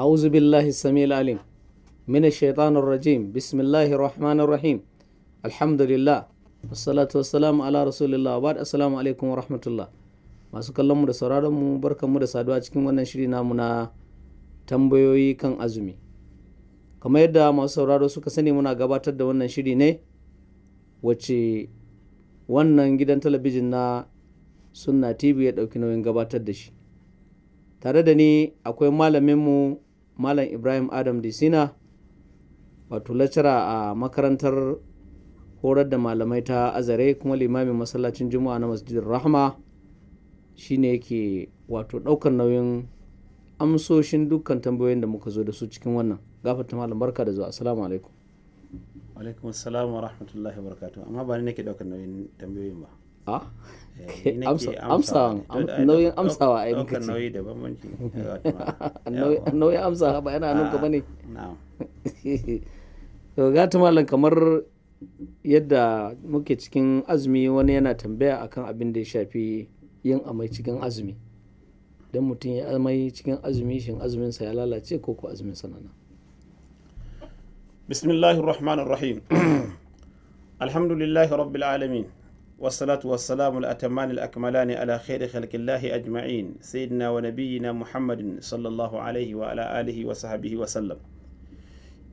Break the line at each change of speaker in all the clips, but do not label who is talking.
أعوذ بالله السميع العليم من الشيطان الرجيم بسم الله الرحمن الرحيم الحمد لله والصلاة والسلام على رسول الله وبعد السلام عليكم ورحمة الله masu kallon mu da sauraron mu barkan mu da saduwa cikin wannan shiri namu na tambayoyi kan azumi kamar yadda masu sauraro suka sani muna gabatar da wannan shiri ne wacce wannan gidan talabijin na sunna tv ya ɗauki nauyin gabatar da shi tare da ni akwai malaminmu malam ibrahim adam disina wato lecturer a makarantar horar da malamai ta azare kuma limamin masallacin juma'a na masjidin rahma shine yake wato ɗaukar nauyin amsoshin dukkan tambayoyin da muka zo da su cikin wannan gafarta malam barka da zuwa assalamu alaikum
alaikum assalam wa rahmatullahi wa barakatuh amma ba ni nake daukar nauyin tambayoyin ba
ah
Eh, ni nake
Amsa-
amsawa ne.
amsawa, am-
Duk- ai,
nauyin
dauk-
amsawa ai
daukar
muka ce.
nauyi da bambanci
nauyi nauyin amsa ba yana hannunka ba ne
na'am
to gata malam kamar yadda muke cikin azumi wani yana tambaya akan abin da ya shafi yin amai cikin azumi don mutum ya amai cikin azumi shin azuminsa ya lalace ko ko azumin sa nana
بسم الله الرحمن الرحيم الحمد لله رب العالمين والصلاة والسلام الأتمان الأكملان على خير خلق الله أجمعين سيدنا ونبينا محمد صلى الله عليه وعلى آله وصحبه وسلم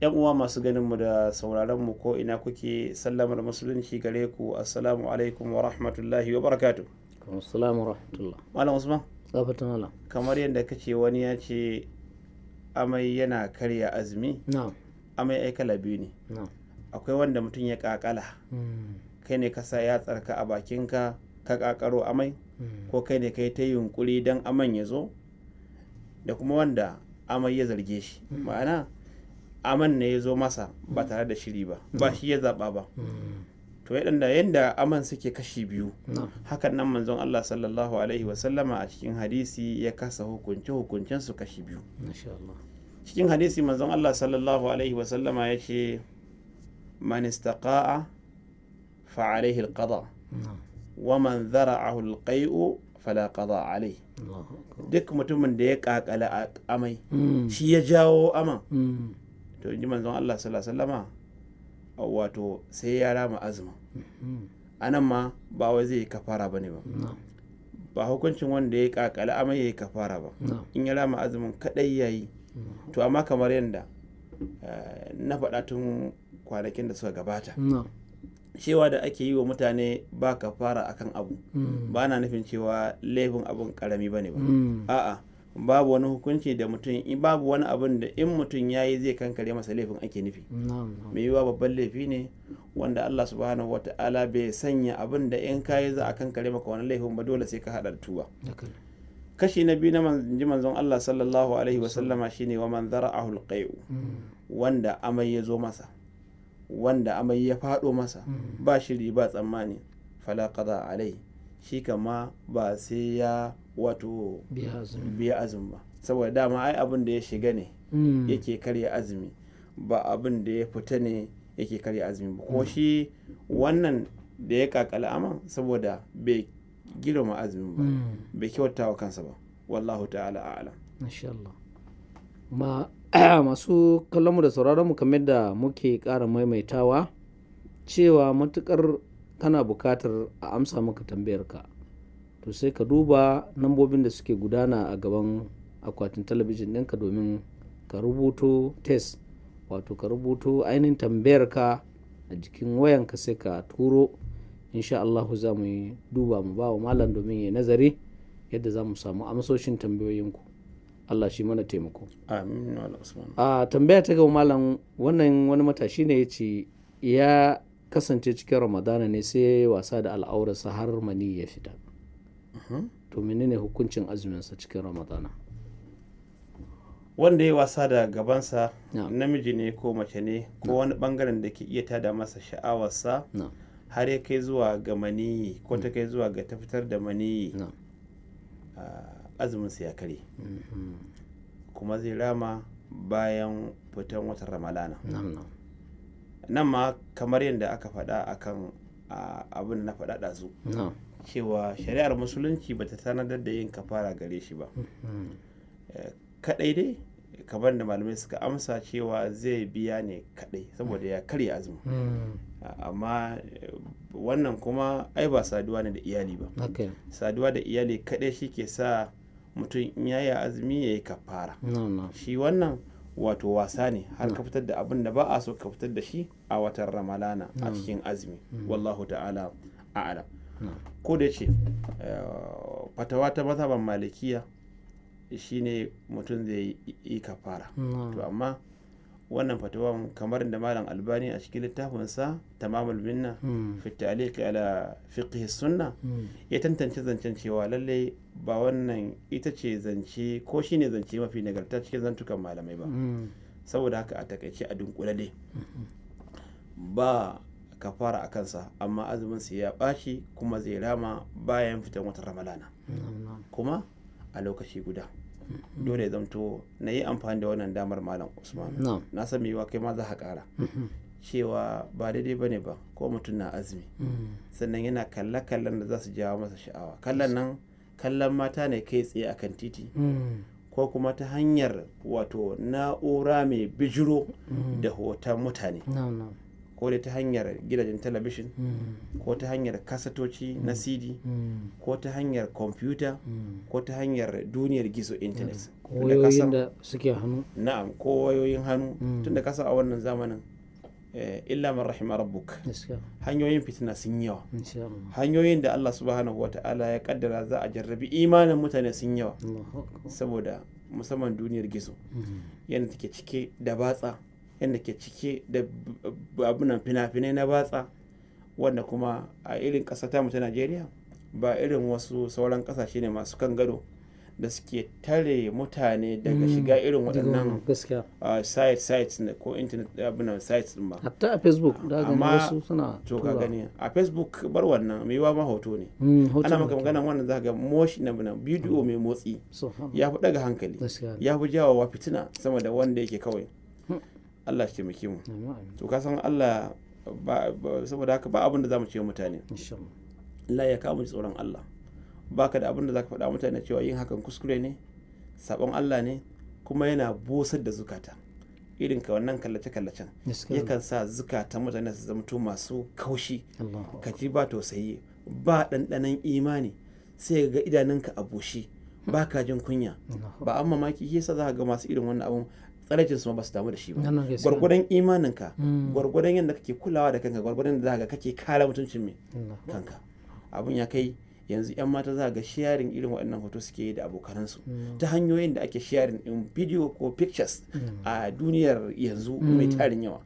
‘Yan uwa masu ganinmu da sauraronmu ko ina kuke sallamar musulunci gare ku, Assalamu alaikum wa rahmatullahi wa barakatu.
assalamu rahmatullah
Malam Usman,
tsafatan malam
kamar yadda kace wani ya ce amai yana karya azumi,
na'am
amai ai kala biyu ne.
na'am
Akwai wanda mutum ya kakala.
Mm,
kai ne ka sa yatsarka a bakinka ka kakaro amai
mm,
ko kai ne ka yi ta yunkuri don aman ya zo da kuma wanda amai ya zarge shi ma'ana aman ne ya zo masa ba tare da shiri ba ba shi ya zaɓa ba
mm,
to yadda yadda aman suke kashi biyu
na'am
hakan nan manzon Allah sallallahu alaihi wasallama a cikin hadisi ya kasa hukunce hukuncensu kashi biyu
masha Allah
cikin hadisi manzon Allah sallallahu alaihi wasallama ya ce man istaqa'a fa alaihi alqada
na'am
waman zara'ahul qai'u fala qada alai
Allahu akbar
duk mutumin da ya kakala a amai
Mm,
shi ya jawo aman
mm,
to inji manzon Allah sallallahu alaihi wasallama wato sai ya rama azumin
mm,
anan ma ba wai zai yi kafara bane ba
na'am
ba hukuncin wanda ya kakala amai yayi kafara ba
na'am
in ya rama azumin kadai yayi to amma kamar yanda eh, na faɗa tun kwanakin da suka gabata
na'am
cewa da ake yi wa mutane ba kafara akan abu
mm,
ba na nufin cewa laifin abun karami bane ba
mm,
a'a babu wani hukunci da mutum in babu wani abin da in mutum ya yi zai kankare masa laifin ake nufi
na'am na'am
mai yiwuwa babban laifi ne wanda Allah subhanahu wata'ala bai sanya abin da in kayi za a kankare maka wani laifin ba dole sai ka haɗa da tuba
haka ne.
kashi na biyu na man- ji manzon Allah sallallahu alaihi wa sallama shine wa man zara'ahu alqai'u
Mm,
wanda amai ya zo masa wanda amai ya faɗo masa
mm.
ba shiri ba tsammani fala qada alai shi kama ba sai ya wato
biya azumi
biya azumi ba saboda dama ai abin da ya shiga ne
Mm,
yake karya azumi ba abin da ya fita ne yake karya azumi ba ko shi wannan da ya kakala aman saboda bai girma azumin ba
mm,
bai kyauta wa kansa ba wallahu ta'ala a'lam
masha Allah ma masu kallonmu da sauraronmu kamar da muke ƙara maimaitawa cewa matukar kana buƙatar a amsa maka tambayarka to sai ka duba nambobin da suke gudana a gaban akwatin talabijin ɗinka domin ka rubuto test wato ka rubuto ainihin tambayarka a jikin wayanka sai ka turo insha Allahu za mu yi duba mu ba wa malam domin ya nazari yadda za mu samu amsoshin tambayoyinku Allah shi mana taimako
amin wal usman
a tambaya ta gaba malam wannan wani matashi ne ya ce ya kasance cikin ramadana ne sai ya yi wasa da al'aurarsa har mani ya fita
Mhm.
to menene hukuncin azuminsa cikin ramadana
wanda ya wasa da gabansa
Na'am.
namiji ne ko mace ne ko wani bangaren da ke iya tada masa sha'awarsa
na'am
har ya kai zuwa ga maniyi ko ta kai zuwa ga ta fitar da maniyi ah,
na'am
azuminsa ya kare
mhm,
kuma zai rama bayan fitan watan ramalana
na'am na'am
nan ma kamar yadda aka faɗa akan a, abin da na faɗa ɗazu
na'am
cewa shari'ar musulunci bata tanadar da yin kafara gare shi ba
mhm,
Eh, kaɗai dai kamar da malamai suka amsa cewa zai biya ne kadai saboda ya karya azumi amma eh, wannan kuma ai ba saduwa ne da iyali ba
haka ne
saduwa da iyali kadai shi ke sa mutum in ya yi azumi ya yi kafara
na na
shi wannan wato wasa ne har ka fitar da abin da ba a so ka fitar da shi a watan ramalana a cikin azumi wallahu ta'ala a'lam
Na'am.
ko da ce fatawa ta mazhaban malikiya shine mutum zai yi kafara
na
to amma wannan fatawan kamar da malam albani a cikin littafinsa tamamul minna
Mm.
fi ta'liq ala fiqh sunna
Mm.
ya tantance zancen cewa lalle ba wannan ita ce zance ko shine zance mafi nagarta cikin zantukan malamai ba
Mm.
saboda haka a takaice a dunkule dai ba kafara a kansa amma azumin sa ya ɓaci kuma zai rama bayan fitan watan ramalana
Na'am, na'am.
kuma a lokaci guda dole ya zamto na yi amfani da wannan damar malam usman
Na'am.
na san mewa kai ma za ka kara cewa ba daidai bane ba ko mutum na azumi
Mm.
sannan yana kalle kallon da za su jawo masa sha'awa kallon nan kallon mata ne kai tsaye akan titi
Mm.
ko kuma ta hanyar wato na'ura mai bijiro
Mm.
da hoton mutane
Na'am, na'am.
ko dai ta hanyar gidajen talabishin
Mm.
ko ta hanyar kasatoci na cd
Mm.
ko ta hanyar kwamfuta
Mm.
ko ta hanyar duniyar gizo intanet da ka
Wayoyin
san-
da suke hannu
na'am ko wayoyin hannu
Mm.
tun da kasa a wannan zamanin eh, illa man rahima rabbuk
gaskiya
hanyoyin fitina sun yawa
insha Allah
hanyoyin da Allah subhanahu wa ta'ala ya kaddara za a jarrabi imanin mutane sun yawa
Allahu akbar
saboda musamman duniyar gizo
Mm.
yadda take cike da batsa yadda ke cike da b- b- abunan fina-finai na batsa wanda kuma a irin ƙasa ta ta najeriya ba irin wasu sauran ƙasashe ne masu kan gado da suke tare mutane daga
Mm.
shiga irin
Digo,
waɗannan
gaskiya
uh, site sites ne ko internet abinan sites din ba
hatta a facebook da ga
Amma-
wasu suna
to
tura.
ka gani a facebook bar wannan mai yiwa ma hoto ne
Mm,
ana
hotunan
maka
ke-
magana wannan za ga moshi na binan bidiyo mai motsi
Subhanallah.
ya fi daga hankali
gaskiya ne.
ya fi jawowa fitina sama da wanda yake kawai Allah shi taimake mu
Amin, amin.
to ka san Allah ba- ba- saboda haka ba abin da za mu ce wa mutane
Insha Allah.
Allah ya kawo mu ji tsoron Allah baka da abin da za ka faɗa wa mutane cewa yin hakan kuskure ne sabon Allah ne kuma yana busar da zukata irin ka wannan kallace-kallacen
gaskiya ne.
yakan sa zukatan mutane su zamto masu kaushi
Allahu akbar
ka ji ba tausayi ba ɗanɗanon imani sai ka ga idanunka a bushe ba ka jin kunya
Allahu
ba an mamaki shi yasa za ka ga masu irin wannan abun tsarajin su ma ba su damu da shi ba
akbar. Wannan gaskiya ne.
gwargwadon imaninka
Mm.
gwargwadon yadda kake kulawa da kanka gwargwadon da za ka ga kake kare mutuncin mai
Allahu akbar.
kanka abun ya kai yanzu yan mata za ka ga sharing irin waɗannan hoto suke yi da abokanansu
Mm.
ta hanyoyin da ake sharing in video ko pictures
Mm.
a duniyar yanzu
Mm.
mai tarin yawa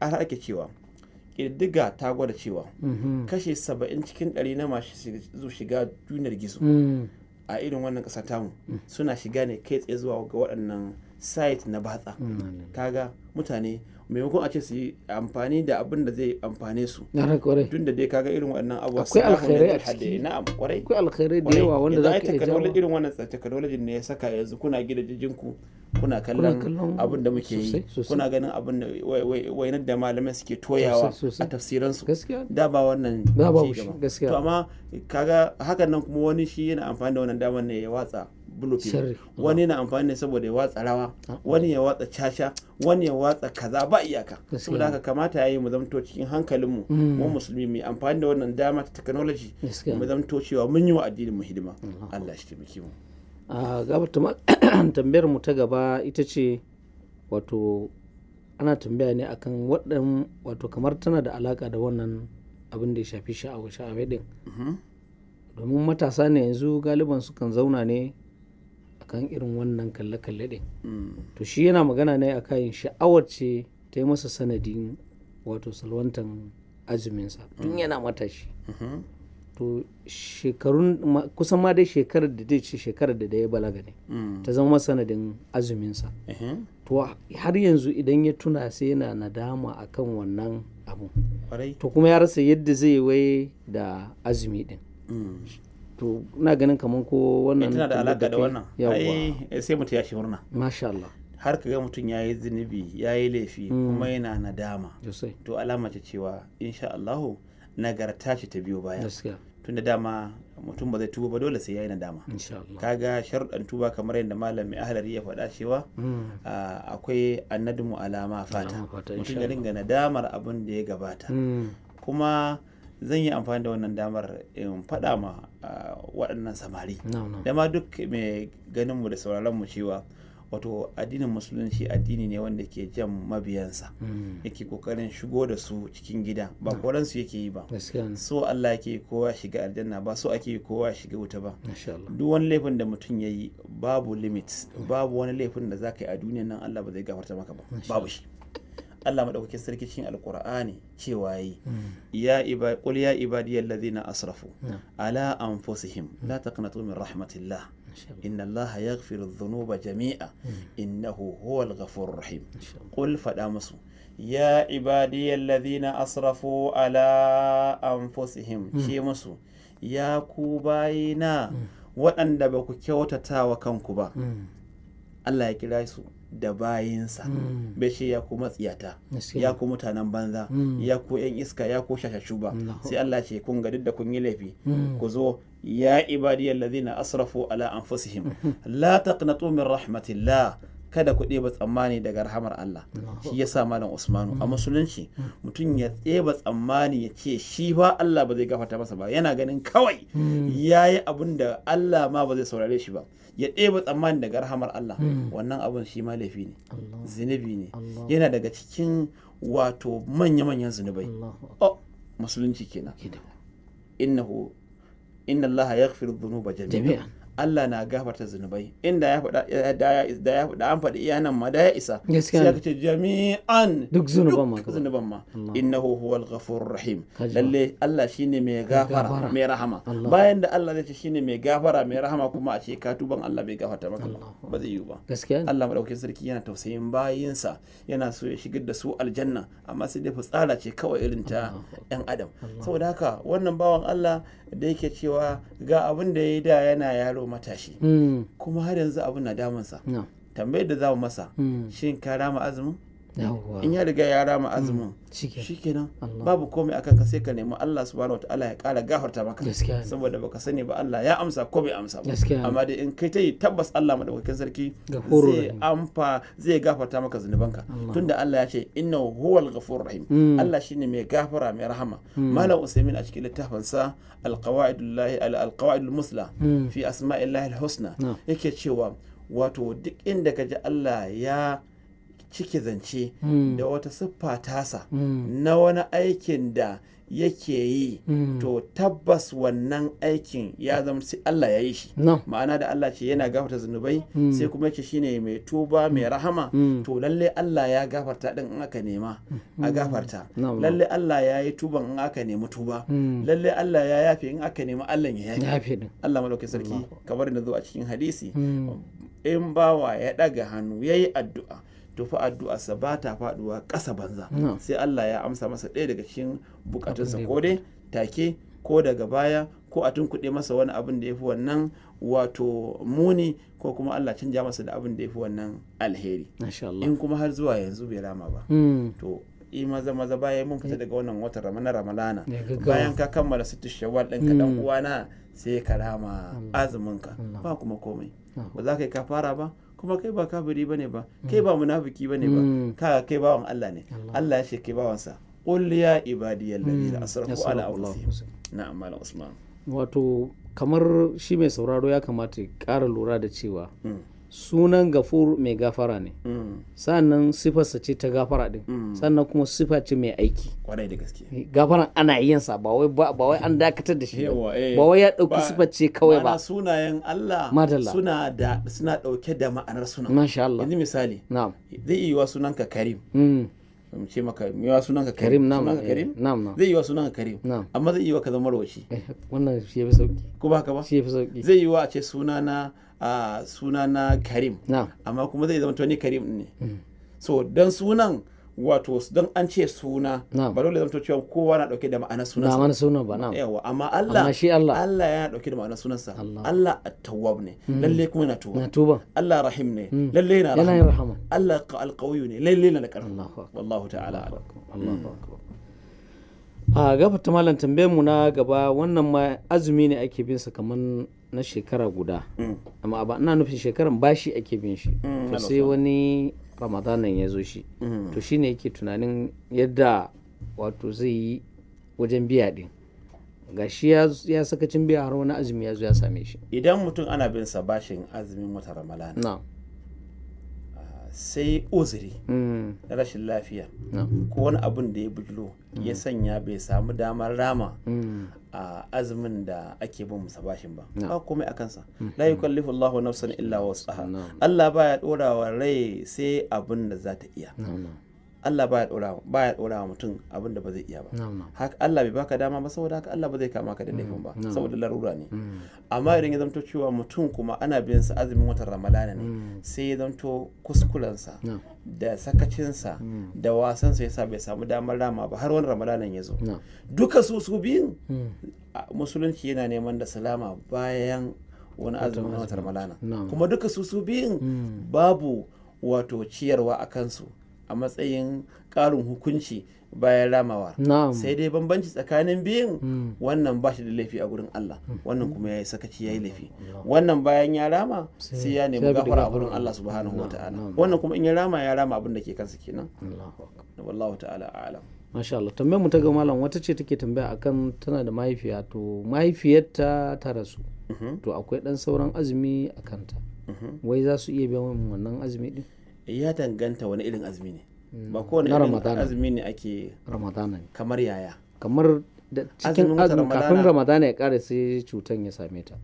har ake cewa ƙididdiga ta gwada cewa
Mhm.
kashe saba'in cikin ɗari na masu zu- shiga duniyar gizo
Mm.
a irin wannan ƙasa tamu suna shiga ne kai tsaye zuwa ga waɗannan site na batsa
Mm, amin.
kaga mutane maimakon a ce su yi amfani da abin da zai amfane su
Na ran kwarai.
tun da dai kaga irin waɗannan abubuwa
Akwai
silahun
alkhairai a
yanzu alhadda
ciki.
na'am kwarai
Akwai alkhairai da
kwarai.
yawa wanda
Yanzu
za
ai
ka iya
technology-
jawo.
irin wannan technology ne ya saka yanzu kuna gidajen ku kuna
kallon
kallon abin da muke
sosai,
yi
sosai.
kuna ganin abin da wai- wai- wainar da malamai suke toyawa
Sosai, sosai.
a tafsiransu
Gaskiya ne.
da ba wannan
Da babu
ci
shi,
gaba.
gaskiya.
to amma kaga hakan nan kuma wani shi yana amfani da wannan damar ne ya watsa
Sharri. Ah.
bluefin wani yana amfani ne saboda ya watsa rawa wani ya watsa caca wani ya watsa kaza ba iyaka
Gaskiya.
saboda haka kamata yayi mu zamto cikin hankalinmu
Mm.
mu musulmi mai amfani da wannan dama ta technology
Gaskiya
mu
ne.
zamto cewa mun yi wa addinin mu hidima Allah shi taimake mu
a gabata ma tambayar mu ta gaba ita ce wato ana tambaya ne akan waɗan wato kamar tana da alaƙa da wannan abin da ya shafi sha'awa sha'awai ɗin
Mhm.
domin matasa ne yanzu galiban sukan zauna ne akan irin wannan kalle-kalle ɗin
Mm.
to shi yana magana ne a kayan sha'awar ce ta yi masa sanadin wato salwantan azuminsa tun yana matashi
Mhm.
to shekarun ma- kusan ma dai shekarar da dai ce shekarar da dai ya balaga ne
Mm.
ta zama sanadin azuminsa
Mhm.
to har yanzu idan ya tuna sai yana nadama akan wannan abu
Kwarai.
to kuma ya rasa yadda zai waye da azumi din
Mm. Eh,
to na ganin kamar ko wannan
tana da
tambayar
alaka da
kai-
wannan
yawwa
ai eh, sai mu ta yashi murna
masha Allah
har ka ga mutum ya yi zunubi ya yi laifi
Hmm.
kuma yana nadama
sosai
to alama ce cewa insha Allahu nagarta ce ta biyo baya
gaskiya
tunda tunda dama mutum ba zai tuba ba dole sai ya yi nadama
insha Allah
kaga sharuɗan tuba kamar yadda malam mai ahalari ya faɗa cewa
Mm.
ah, akwai annadmu alama fata
Alama fata,
mutum
insha
ya dinga nadamar abin da ya gabata
Mm.
kuma zan yi amfani da wannan damar in faɗa ma ah, waɗannan samari
No, no.
dama duk mai ganinmu da sauraronmu cewa wato addinin musulunci addini ne wanda ke jan mabiyansa
Mm.
yake kokarin shigo da su cikin gida ba koransu yake yi ba
Gaskiya ne.
so Allah yake kowa shiga aljanna ba so ake kowa shiga wuta ba
Insha Allah.
duk wani laifin da mutum ya yi babu limit babu wani laifin da za ka yi a duniyan nan Allah ba zai gafarta maka ba babu shi Allah madaukakin sarki cikin alkur'ani cewa yi
Mm.
ya iba qul ya ibadiyal ladina asrafu
Na'am.
ala anfusihim la taqnatu min rahmatillah
Insha Allah.
inna Allah yaghfiru dhunuba jami'a innahu huwal ghafurur rahim
Insha Allah.
قل فدامسوا يا عبادي الذين أسرفوا على أنفسهم شي مسو يا كوباينا waɗanda ba ku kyautata wa kanku ba
Mm.
Allah ya kira su da bayinsa
Mm.
bai ce ya ku matsiyata
Gaskiya.
ya ku mutanen banza
Mm.
ya ku yan iska ya ku shashashu ba
Allahu
sai Allah ce kun ga duk da kun yi laifi
Mm.
ku zo ya ibadiyal ladina asrafu ala
Hmm.
anfusihim la taqnatu min rahmatillah kada ku ɗeba tsammani daga rahamar Allah
Allahu
shi yasa malam Usmanu a musulunci mutum ya ɗeba tsammani ya ce shi ba Allah ba zai gafarta masa ba yana ganin kawai yayi abin da Allah ma ba zai saurare shi ba ya ɗeba tsammani daga rahamar Allah wannan abun shi ma laifi ne
Allah.
zunubi ne
Allah.
yana daga cikin wato manya-manyan zunubai
Allahu Akbar.
oh musulunci kenan innahu inna Allah ya gafiru dhunuba jami'a
Jami'an.
Allah na gafarta zunubai inda ya faɗa da ya da ya faɗa an faɗi iya nan ma da ya isa
Gaskiya ne.
sai aka ce jami'an
Duk zunuban ma gaba.
zunuban ma
Allah.
innahu huwal ghafurur rahim
Kaji ba.
lalle Allah shine mai gafara
gafara.
mai rahama
Allah.
bayan da Allah zai ce shine mai gafara mai rahama kuma a ce ka tuban Allah bai gafarta maka ba.
Allah.
ba zai yiwu ba
Gaskiya ne.
Allah madaukakin sarki yana tausayin bayinsa yana so ya shigar da su aljanna amma sai dai fitsara ce kawai irin ta yan adam saboda haka wannan bawan Allah da yake cewa ga abin da ya yi da yana yaro matashi
Mm.
kuma har yanzu abin na damunsa
No.
tambayar da za mu masa
Mm.
shin ka rama azumin
Yawwa.
in ya riga ya rama azumin
Shike.
shikenan
Mm. Allah.
babu komai akan ka sai ka nemi Allah subhanahu wataala ya kara gafarta maka
Gaskiya ne.
saboda baka sani ba Allah ya amsa ko bai amsa ba
Gaskiya ne.
amma dai in kai ta yi tabbas Allah madaukakin sarki
Ghafurur
zai
rahim.
amfa zai gafarta maka zunubanka
Allah.
tunda Allah ya ce innahu huwal ghafurur rahim
Mm.
Allah shine mai gafara mai rahama
Hmm.
malam Usaimin a cikin littafin sa al-qawaidul al-qawaidul musla
Mm.
fi asma'illahi al-husna
No.
yake cewa wato duk inda kaji Allah ya cike zance
Mm.
da wata siffa tasa
Mm.
na wani aikin da yake yi
Mm.
to tabbas wannan aikin ya zama sai Allah ya yi shi
No.
ma'ana da Allah ce yana gafarta zunubai
Mm.
sai kuma ce shine mai tuba mai rahama
Mm.
to lalle Allah ya gafarta din in aka nema a gafarta
Na'am.
lalle Allah ya yi tuban in aka nemi tuba
Mm.
lalle Allah ya yafe in aka nemi Allah ya yafe
Ya fi din.
Allah madaukakin sarki kamar da zo a cikin hadisi
Mm.
in bawa ya ɗaga hannu ya yi addu'a to fa addu'arsa ba ta faɗuwa ƙasa banza
No.
sai Allah ya amsa masa ɗaya daga cikin bukatunsa ko dai take ko daga baya ko a tunkuɗe masa wani abin da ya fi wannan wato muni ko kuma Allah canja masa da abin da ya fi wannan alheri
Masha Allah.
in kuma har zuwa yanzu bai rama ba
Mm.
to i maza maza bayan mun fita daga wannan watan ramana ramalana
Ya gaggawa.
bayan ka kammala sittu shawwal ɗin ka
Mm.
dan uwana sai ka rama azumin ka ba kuma komai
Allah.
ba za ka yi kafara ba kuma kai ba kafiri bane ba kai ba munafiki bane ba
Mm.
ka kai bawan Allah ne Allah ya ce kai bawansa qul ya ibadiyal ladina asrafu ala
Mm. Allah.
anfusihim na'am malam usman
Wato kamar shi mai sauraro ya kamata ya ƙara lura da cewa
Mm,
sunan gafur mai gafara ne.
mm,
sannan sifarsa ce ta gafara din
Mm.
sannan kuma sifa ce mai aiki
kwarai da gaske
gafaran ana yin sa ba wai ba wai an dakatar da shi
Yawa,
ba
eh.
ba wai ya dauki
Ba-
sifar ce kawai
Ma'ana
ba
sunayen Allah
Madalla.
suna da suna dauke da ma'anar suna
masha Allah
yanzu misali
na'am
zai iya yiwa sunanka Karim
mm.
mu ce maka yiwa sunanka
karim
Karim
na'am
sunanka
eh,
Karim
na'am na'am
zai yiwa sunanka Karim
na'am
amma zai yiwa ka zama rawaci
Eh, wannan shi yafi sauki
ko ba haka ba
shi yafi sauki
zai yiwa a ce sunana a sunana Karim
na'am Mm.
amma kuma zai zama wani karim ɗin ne so don sunan wato don an ce suna
Na'am.
ba dole zama cewa kowa na dauke da ma'anar
na
sunansa
mana sunan ba na'am
yawa amma Allah
Amma shi Allah.
Allah yana dauke da ma'anar sunansa
Allah.
Allah at-tawwab ne lalle kuma yana tuba
na tuba
Allah rahim ne lalle yana
Mm. yana
rahama
yin rahama
Allah qa- al-qawiyyu ne lalle yana da karfi
Allahu akbar
wallahu ta'ala a'lam.
Allahu akbar a gafa ta malam tambayar mu na gaba wannan ma azumi ne ake bin sa kaman na shekara guda
Mm.
amma ba ina nufin shekaran bashi ake bin shi
Mm,
to
na
sai wani ramadanan ya zo shi
Mm.
to shine yake tunanin yadda wato zai yi wajen biya din gashi ya ya sakacin biya har wani azumi ya zo ya same shi
idan mutum ana bin sa bashin azumin wata ramalana
na
sai uzuri
mm,
na rashin lafiya
na
ko wani abun da ya bujilo ya sanya bai samu damar rama
mm,
a azumin da ake bin masa bashin ba
No.
ba komai a kansa la yukallifu Allahu nafsan illa wus'aha
No.
Allah baya dora wa rai sai abin da za ta iya
na na
Allah baya dora baya dora wa mutum abin da ba zai iya ba
na na
haka Allah bai baka dama ba saboda haka Allah ba zai kama ka da laifin ba
No.
saboda larura ne
mm,
amma idan ya zamto cewa mutum kuma ana bin sa azumin watan ramalana ne
mm,
sai ya zamto kuskurensa
na
da sakacinsa
Mm.
da wasansa yasa bai samu damar rama ba har wani ramadanan ya zo
na
duka su su biyun
mm,
a- musulunci yana neman da salama bayan wani azumin watan ramalana
na'am.
kuma duka su su biyun
mm,
babu wato ciyarwa a kansu a matsayin ƙarin hukunci bayan ramawa
na'am,
sai dai bambanci tsakanin biyun
mm,
wannan ba shi da laifi a gurin Allah
Hmm.
wannan kuma ya yi sakaci ya yi laifi wannan bayan ya rama sai ya nemi
sai ya bi
gafara a
gafara.
gurin Allah subhanahu wa
Na'am,
ta'ala
na'am.
wannan kuma in ya rama ya rama abin da ke kansa kenan
Allahu akbar.
wallahu ta'ala a'lam
Masha Allah, tambayar mu ta ga malam wata ce take tambaya akan tana da mahaifiya to mahaifiyarta ta rasu
Mhm,
to akwai dan sauran azumi a kanta
mhm.
wai za su iya biyan wannan azumi din
Eh, ya danganta wani irin azumi ne
Mm,
ba kowane
na
irin
Ramadana.
azumi ne ake
ramadana ne
kamar yaya
kamar da cikin
Azumin watan
azumi kafin
Ramadana.
ramadana ya kare sai cutan ya same ta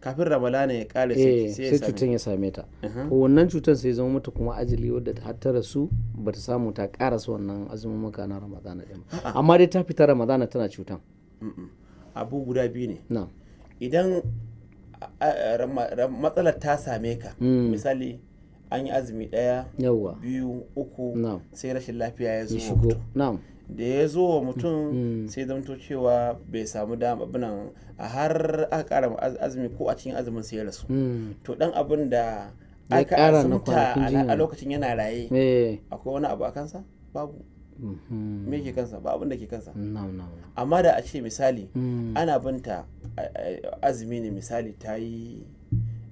kafin ramalana ya kare
eh
sai
sai
sai ya same Mm-hmm.
cutan ya same ta
Aha.
to wannan cutan sai zama mata kuma ajali wadda ta har ta rasu ba ta samu ta karasa wannan azumin maka na ramadana din ba.
Ah.
amma dai ta fita ramadana tana cutan
Mm-mm. abu guda biyu ne
na
idan a- a- rama- ra- matsalar ta same ka
Mm.
misali an yi azumi ɗaya
yawwa
biyu uku
na
sai rashin lafiya ya
ya
zo wa
shigo
mutum
na
da ya zo wa mutum
Mm.
sai zamto cewa bai samu dama abinan a har aka kara az- azumi ko a cikin azumin sai ya rasu
mm.
to dan abin da
Ya
aka
ƙara na
asumta
kwanakin
a-
jinya.
a lokacin yana raye
eh
akwai wani abu a kansa babu
mhm.
me ke kansa ba abin da ke kansa
na'am na'am
amma da a ce misali
Mm.
ana binta a- a- azumi ne misali ta yi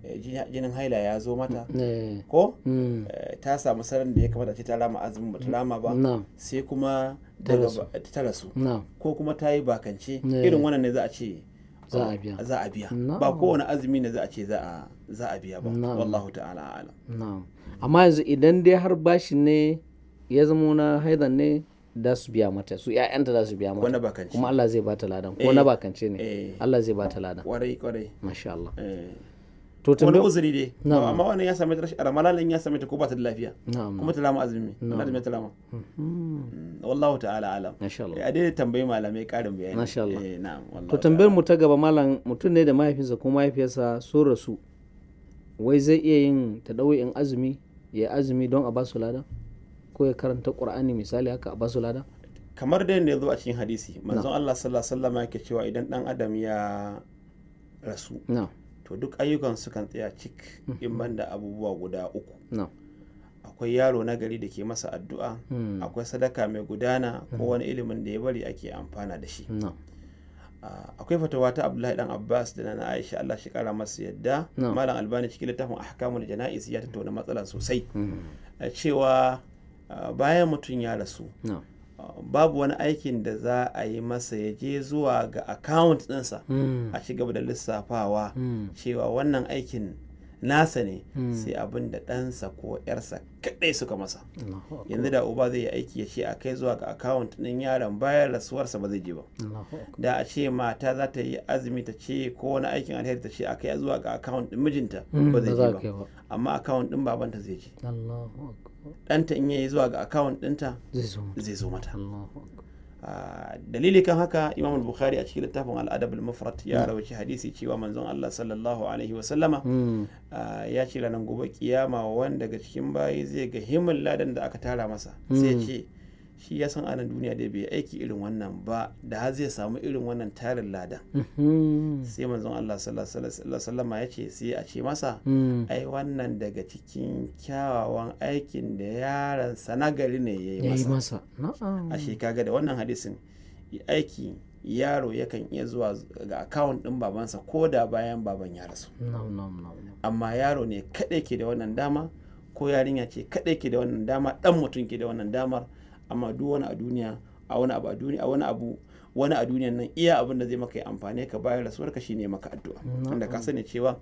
eh, jini- jinin haila ya zo mata
Eh,
ko
mm.
eh, ta samu sarar da ya kamata ce ta rama azumin ba ta rama ba
na'am
sai kuma daga ba- ta rasu
na'am
ko kuma ta yi bakance
Ne.
irin wannan ne za a ce
Eh. Za a biya.
za a biya
No.
ba kowane azumi ne za a ce za a za a biya ba
No.
wallahu ta'ala alam
na'am amma yanzu idan dai har bashi ne ya zama na haidan ne da su biya mata su ƴaƴanta da su biya
ko na
mata
bakance
kuma Allah zai bata ladan ko
Eh.
na bakance ne
eh
Allah zai bata ladan
kwarai kwarai
masha Allah
eh
to
wani
tambayar
uzuri dai
No.
amma wannan ya same ta rashin ramalanin ya same ta ko ba ta da lafiya
na'am
kuma ta rama azumi na da ta rama
Mhm.
Mm, wallahu ta'ala alam
masha Allah
Eh, a dai tambayi malamai karin bayani
Masha Allah.
eh na'am wallahu
to tambayar mu ta gaba malam mutum ne da mahaifinsa ko mahaifiyarsa sun rasu wai zai iya yin tadawi'in azumi ya azumi don a basu lada ko ya karanta qur'ani misali haka a basu lada
kamar da yadda ya zo a cikin hadisi manzon Allah sallallahu alaihi wasallam yake cewa idan dan adam ya rasu
na
to duk ayyukan sukan tsaya cik in banda abubuwa guda uku
na
akwai yaro na gari da ke masa addu'a
Mm.
akwai sadaka mai gudana ko wani ilimin da ya bari ake amfana da shi
na
Ah, akwai fatawa ta Abdullahi dan Abbas da nana Aisha Allah shi kara masa yadda
No.
malam Albani cikin littafin ahkamul janaiz ya tattauna matsalan sosai
Mm.
Ah, cewa ah, bayan mutum ya rasu
na
Uh, babu wani aikin da za a yi masa ya je zuwa ga account ɗinsa
Mm.
a ci gaba da lissafawa
Mm.
cewa wannan aikin nasa ne
Mm.
sai abin da ɗansa ko ‘yarsa kaɗai suka masa
Allahu akbar.
yanzu da uba zai yi aiki ya ce a kai zuwa ga account ɗin yaron bayan rasuwarsa ba zai je ba
Allahu akbar.
da a ce mata za ta yi azumi ta ce ko wani aikin alheri ta ce a kai zuwa ga account ɗin mijinta Hmm, ba zai
Hmm, Ba za
je
ka
ba
yi ba.
amma account ɗin babanta zai je
Allahu akbar.
ɗanta in yayi zuwa ga account ɗinta
Zai zo mata.
zai zo mata
Allahu akbar.
Ah, dalili kan haka imam al-bukhari a cikin littafin al-adab al-mufrad ya rawaci hadisi cewa manzon Allah sallallahu alaihi wa sallama
Mm.
ah, ya ce ranar gobe kiyama wanda daga cikin bayi zai ga himin ladan da aka tara masa sai
Mm.
ce shi ya san anan duniya da bai aiki irin wannan ba da har zai samu irin wannan tarin ladan
Mm. Mhm.
sai manzon Allah sallallahu alaihi wa sallama ya ce sai a ce masa
Mm.
ai wannan daga cikin kyawawan aikin da yaransa nagari ne ya yi
Ya yi
masa
masa. Na'am.
ashe kaga da wannan hadisin aiki yaro yakan iya zuwa ga akawun ɗin babansa ko da bayan baban ya rasu
na'am na'am na'am
amma yaro ne kaɗai ke da wannan dama ko yarinya ce kaɗai ke da wannan dama ɗan mutum ke da wannan damar amma duk wani a duniya a wani abu a duniya a wani abu wani a duniyan nan iya abin da zai maka ya amfane ka bayan rasuwarka shine maka addu'a
Na'am.
tunda ka sani cewa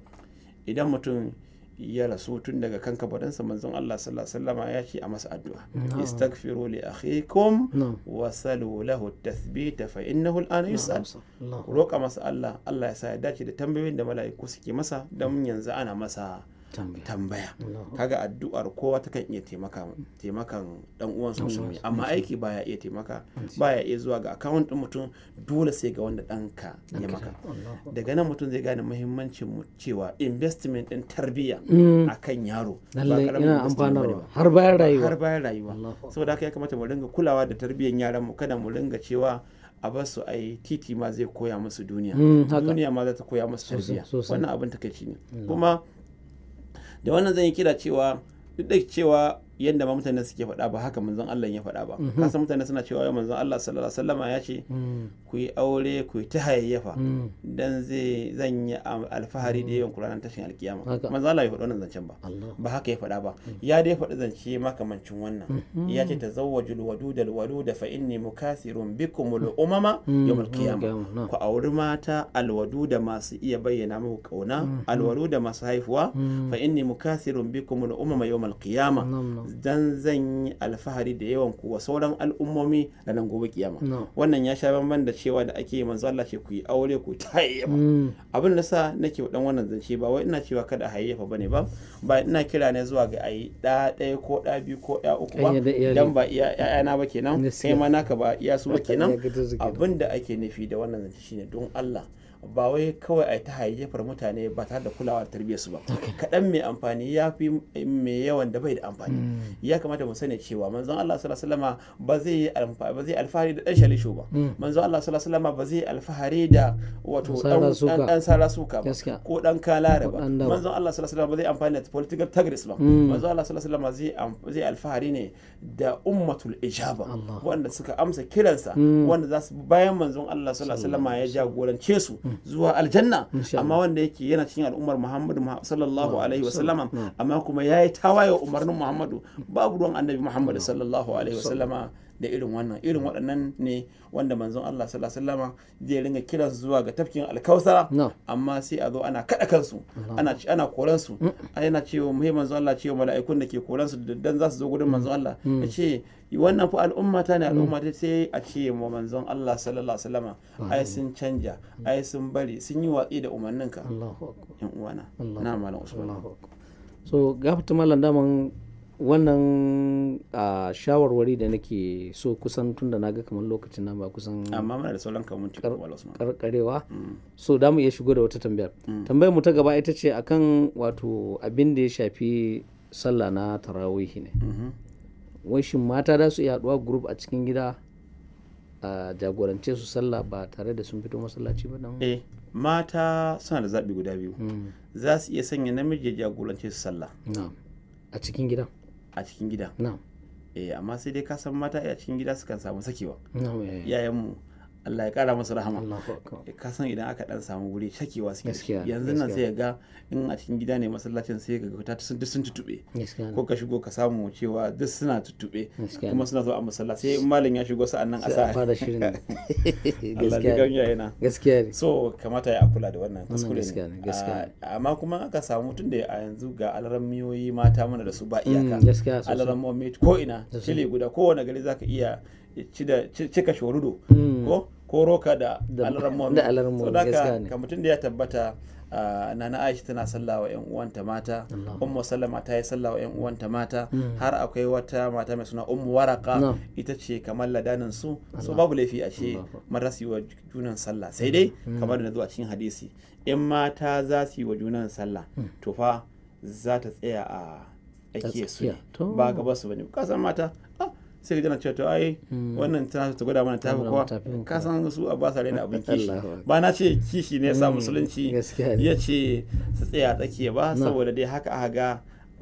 idan mutum ya rasu tun daga kan kabarinsa manzon Allah sallallahu alaihi wasallama ya ce a masa addu'a
Na'am.
istaghfiru li akhikum
na'am
wasalu lahu tathbita fa innahu al'ana yus'al
na'am, Allahu
ku roƙa masa Allah Allah ya sa ya dace da tambayoyin da mala'iku suke masa don yanzu ana masa
tambaya
tambaya
Allahu
kaga addu'ar kowa takan iya taimaka taimakan dan
Dan
uwansa musulmi
uwansa,
amma aiki baya iya taimaka
Yes.
baya iya zuwa ga account din mutum dole sai ga wanda ɗanka ya
Akbar.
maka
Allahu
daga nan mutum zai gane muhimmancin mu cewa investment din tarbiyya
Mm,
akan yaro ba
lallai
ƙaramin
yana
investment bane
amfanarwa
ba.
har bayan rayuwa
har bayan rayuwa
Allahu
saboda haka ya kamata mu ringa kulawa da tarbiyyar yaran mu kada mu ringa cewa a bar su ai titi ma zai koya musu duniya
Mm, haka.
duniya ma za ta koya musu
Sosai,
tarbiyya
sosai. Mm.
wannan abin takaici ne kuma da wannan zan yi kira cewa duk da cewa yadda ma mutane suke faɗa ba haka manzon Allah ya faɗa ba
Mm-hmm.
kasan mutane suna cewa yau manzon Allah sallallahu alaihi wasallama ya ce
Mm,
ku yi aure ku yi ta hayayyafa
mm,
dan zai zan yi alfahari da yawan kuranan tashin alkiyama
Haka.
manzon Allah bai faɗi wannan zancen ba
Allahu
ba haka ya faɗa ba ya dai faɗi zance makamancin wannan ya ce ta zawajul wadudal waluda fa inni mukasirun bikumul umama
Mm-hmm.
yawmul qiyamah
Allahu, na'am.
ku auri mata alwaduda masu iya bayyana muku kauna alwaluda masu haifuwa
Mm,
fa inni mukasirun bikumul umama yawmul qiyamah
na'am, na'am,
dan zan yi alfahari da yawan ku wa sauran al'ummomi ranar gobe kiyama
na'am.
wannan ya sha bamban da cewa da ake yi manzo Allah ce ku yi aure ku tayyama
Mm,
abin da sa nake dan wannan zance ba wai ina cewa kada a hayyafa bane ba ba ina kira ne zuwa ga ayi da ɗaya ko da biyu ko da uku ba
Ƙayyade iyali.
dan ba iya ƴaƴana ba kenan
Gaskiya.
kai ma naka ba iya su ba kenan
Ya gizo su kenan.
abin da ake nufi da wannan zance shine don Allah ba wai kawai a ta hayyafar mutane ba tare da kulawa da tarbiyyar su ba kaɗan mai amfani ya fi mai yawan da bai da amfani Mm. ya kamata mu sani cewa manzon Allah sallallahu alaihi wasallama ba zai yi alfa- ba zai alfahari da ɗan shalisho ba
Mm.
manzon Allah sallallahu alaihi wasallama ba zai yi alfahari da wato
Dan
ɗan-
sara suka.
ɗan- ɗan sara suka ba
Gaskiya.
ko dan kalare
Ko
ba
ɗan daba.
manzon Allah sallallahu alaihi wasallam ba zai amfani da political tagris ba
Mm.
manzon Allah sallallahu alaihi wasallam zai am- zai alfahari ne da ummatul ijaba
Allah.
wanda suka amsa kiransa
Mm.
wanda za su bayan manzon Allah sallallahu alaihi Mm. wasallam ya jagorance su zuwa aljanna
Insha Allah.
amma wanda yake yana cikin al'ummar Muhammadu Muha- sallallahu alaihi wasallam
Na'am.
amma kuma yayi tawaye wa umarnin Muhammadu babu ruwan annabi Muhammadu sallallahu alaihi wasallam da irin wannan irin waɗannan ne wanda manzon Allah sallallahu alaihi wasallam zai ringa kiransu zuwa ga tafkin alkausara
na'am.
amma sai a zo ana kada kansu ana ci- ana koran su
Mm.
ana cewa mai manzo Allah cewa mala'ikun da ke koran su da dan za su zo gurin manzo Allah
Mm.
ya ce wannan fa al'umma ta ne al'umma ta sai a ce wa manzon Allah sallallahu alaihi wasallama ai sun canja ai sun bari sun yi watsi da umarninka
Allahu akbar.
yan uwana
Allah.
na malam usman
Mm. Allahu akbar. So gafata malam daman wannan a shawarwari da nake so kusan tun da naga kamar lokacin nan ba kusan
amma muna da sauran kamunti malam usman
karkarewa
Mm.
so da mu iya shigo da wata tambayar tambayar mu ta gaba ita ce akan wato abin da ya shafi sallah na tarawihi ne
Mhm.
wai shin mata za su iya haduwa group a cikin gida a jagorance su sallah ba tare da sun fito masallaci ba dan
eh mata suna da zabi guda biyu
Mm,
za su iya sanya namiji ya jagorance su sallah
na'am a cikin gida
a cikin gida
na'am
eh amma sai dai ka san mata a cikin gida sukan samu sakewa
na'am eh.
iyayenmu Allah ya kara musu rahama
Allahu akbar
ka san idan aka dan samu guri shakewa suke da shi.
Gaskiya,
yanzu nan
gaskiya.
sai ga in a cikin gida ne masallacin sai ga ta sun duk sun tutube
gaskiya ne
ko ka shigo ka samu cewa duk suna tutube
Mm. Gaskiya
kuma suna zuwa a masallaci sai in malam ya shigo sa'an nan a
sai a
sa
fara shirin
Allah ya
gaskiya ne
ganya yana
gaskiya ne
so kamata ya kula da wannan kuskure
gaskiya ne, gaskiya
ne Ah, amma kuma aka samu tun da a yanzu ga alrammiyoyi mata mana da su ba iyaka
Mm, gaskiya sosai
alrammomi ko ina cile guda kowane gari zaka iya ci da- ci- cika shorudo
Mm,
ko ko roka da
Da-
alarmomi
da alarmomi, gaskiya ne.
ka mutum da ya tabbata ah, nana aisha tana sallah wa 'yan uwanta mata ummu sallama ta yi sallah wa 'yan uwanta mata
Hmm.
har akwai wata mata mai suna ummu waraka
Na'am.
ita ce kamar ladanin su so babu laifi a ce mara su yi wa junan sallah sai dai
Hmm.
kamar da na zo a cikin hadisi in mata za su yi wa junan sallah
Hmm.
to fa za ta tsaya a tsakiyar su ne
tsakiya, to.
ba gaba su bane kasan mata ah, sai ka tana cewa to ai wannan tana so ta gwada mana tafi
Hmm. gwada
kowa
mana tafi kowa.
ka san su a ba sa raina abin kishi
Allahu akbar. Mm,
ba na ce kishi ne ya sa musulunci
gaskiya ne.
ya ce su tsaya a tsakiya ba saboda dai haka aka ga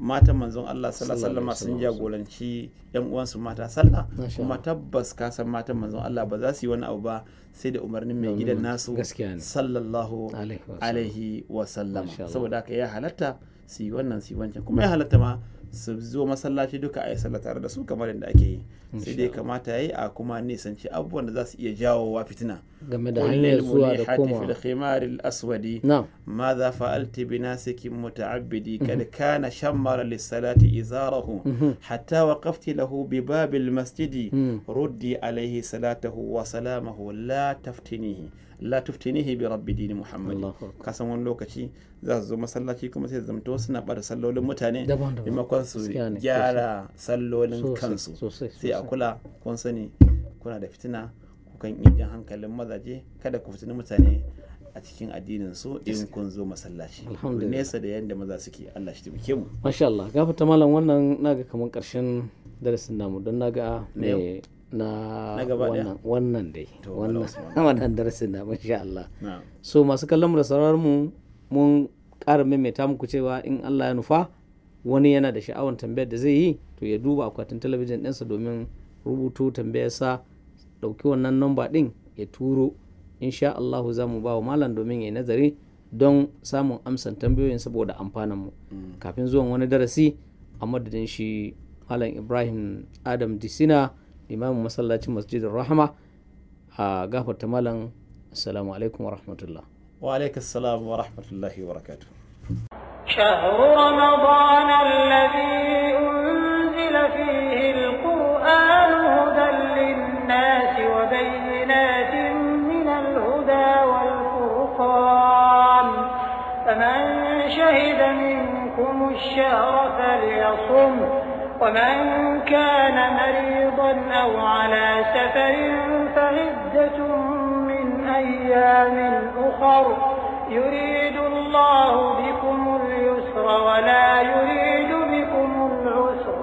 matan manzon Allah sallallahu alaihi wasallam sun
Sallallahu alaihi
jagoranci yan uwansu mata sallah
Masha
kuma tabbas ka san matan manzon Allah ba za su yi wani abu ba sai da umarnin mai gidan nasu
gaskiya ne.
sallallahu
Alaihi wasallam.
alaihi wasallam
Masha Allah.
saboda haka ya halatta su yi wannan su yi wancan kuma ya halatta ma su zo masallaci duka a yi sallah tare da su kamar yadda ake yi sai dai kamata ya yi a kuma nisanci abubuwan da za su iya jawowa fitina
game da
قل
hanyar zuwa da
للمليحة في
komawa
الخمار الأسود
na'am
ماذا فعلت بناسك متعبدي قد كان شمر للصلاة إزاره حتى وقفت له بباب المسجد
مم.
ردي عليه صلاته وسلامه لا تفتنيه لا تفتنيه برب دين
الله
محمد
أكبر.
kasan wani lokaci za su zo masallaci kuma sai zamto suna bar sallolin mutane
Daban-daban.
maimakon su
Gaskiya ne,
gyara sallolin
sosai,
kansu
sosai,
sai a
sosai.
kula kun sani kuna da fitina kukan iya jan hankalin mazaje kada ku fitini mutane a cikin addinin su in kun zo masallaci ku
Alhamdulillah.
nesa da yanda maza suke Allah shi taimake mu
masha Allah gafarta malam wannan naga kamar karshen darasin namu don naga
Na yau?
me na
Na gaba
wannan wannan dai
To,
wannan
Allah Usman.
wannan darasin namu insha Allah
na
so masu kallon mu da sauraron mu mun ƙara maimaita muku cewa in Allah ya nufa wani yana da sha'awar tambayar da zai yi to ya duba akwatin talabijin ɗinsa domin rubuto tambayarsa ɗauki wannan namba ɗin ya turo insha Allahu za mu ba wa malam domin ya yi nazari don samun amsan tambayoyin saboda amfanin mu kafin zuwan wani darasi a madadin shi malam Ibrahim Adam Disina limamin masallacin masjidin Rahama a gafarta malam assalamu alaikum wa rahmatullah
wa alaikas salam wa rahmatullahi wa barakatuh
شهر رمضان الذي أنزل فيه القرآن هدى للناس وبينات من الهدى والفرقان فمن شهد منكم الشهر فليصم ومن كان مريضا أو على سفر فعدة من أيام أخر يريد الله بكم اليسر ولا يريد بكم العسر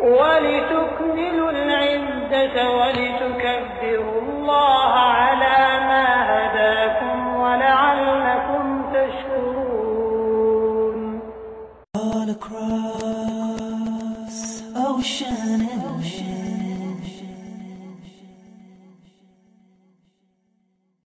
ولتكملوا العدة ولتكبروا الله على ما هداكم ولعلكم تشكرون
all across ocean and land.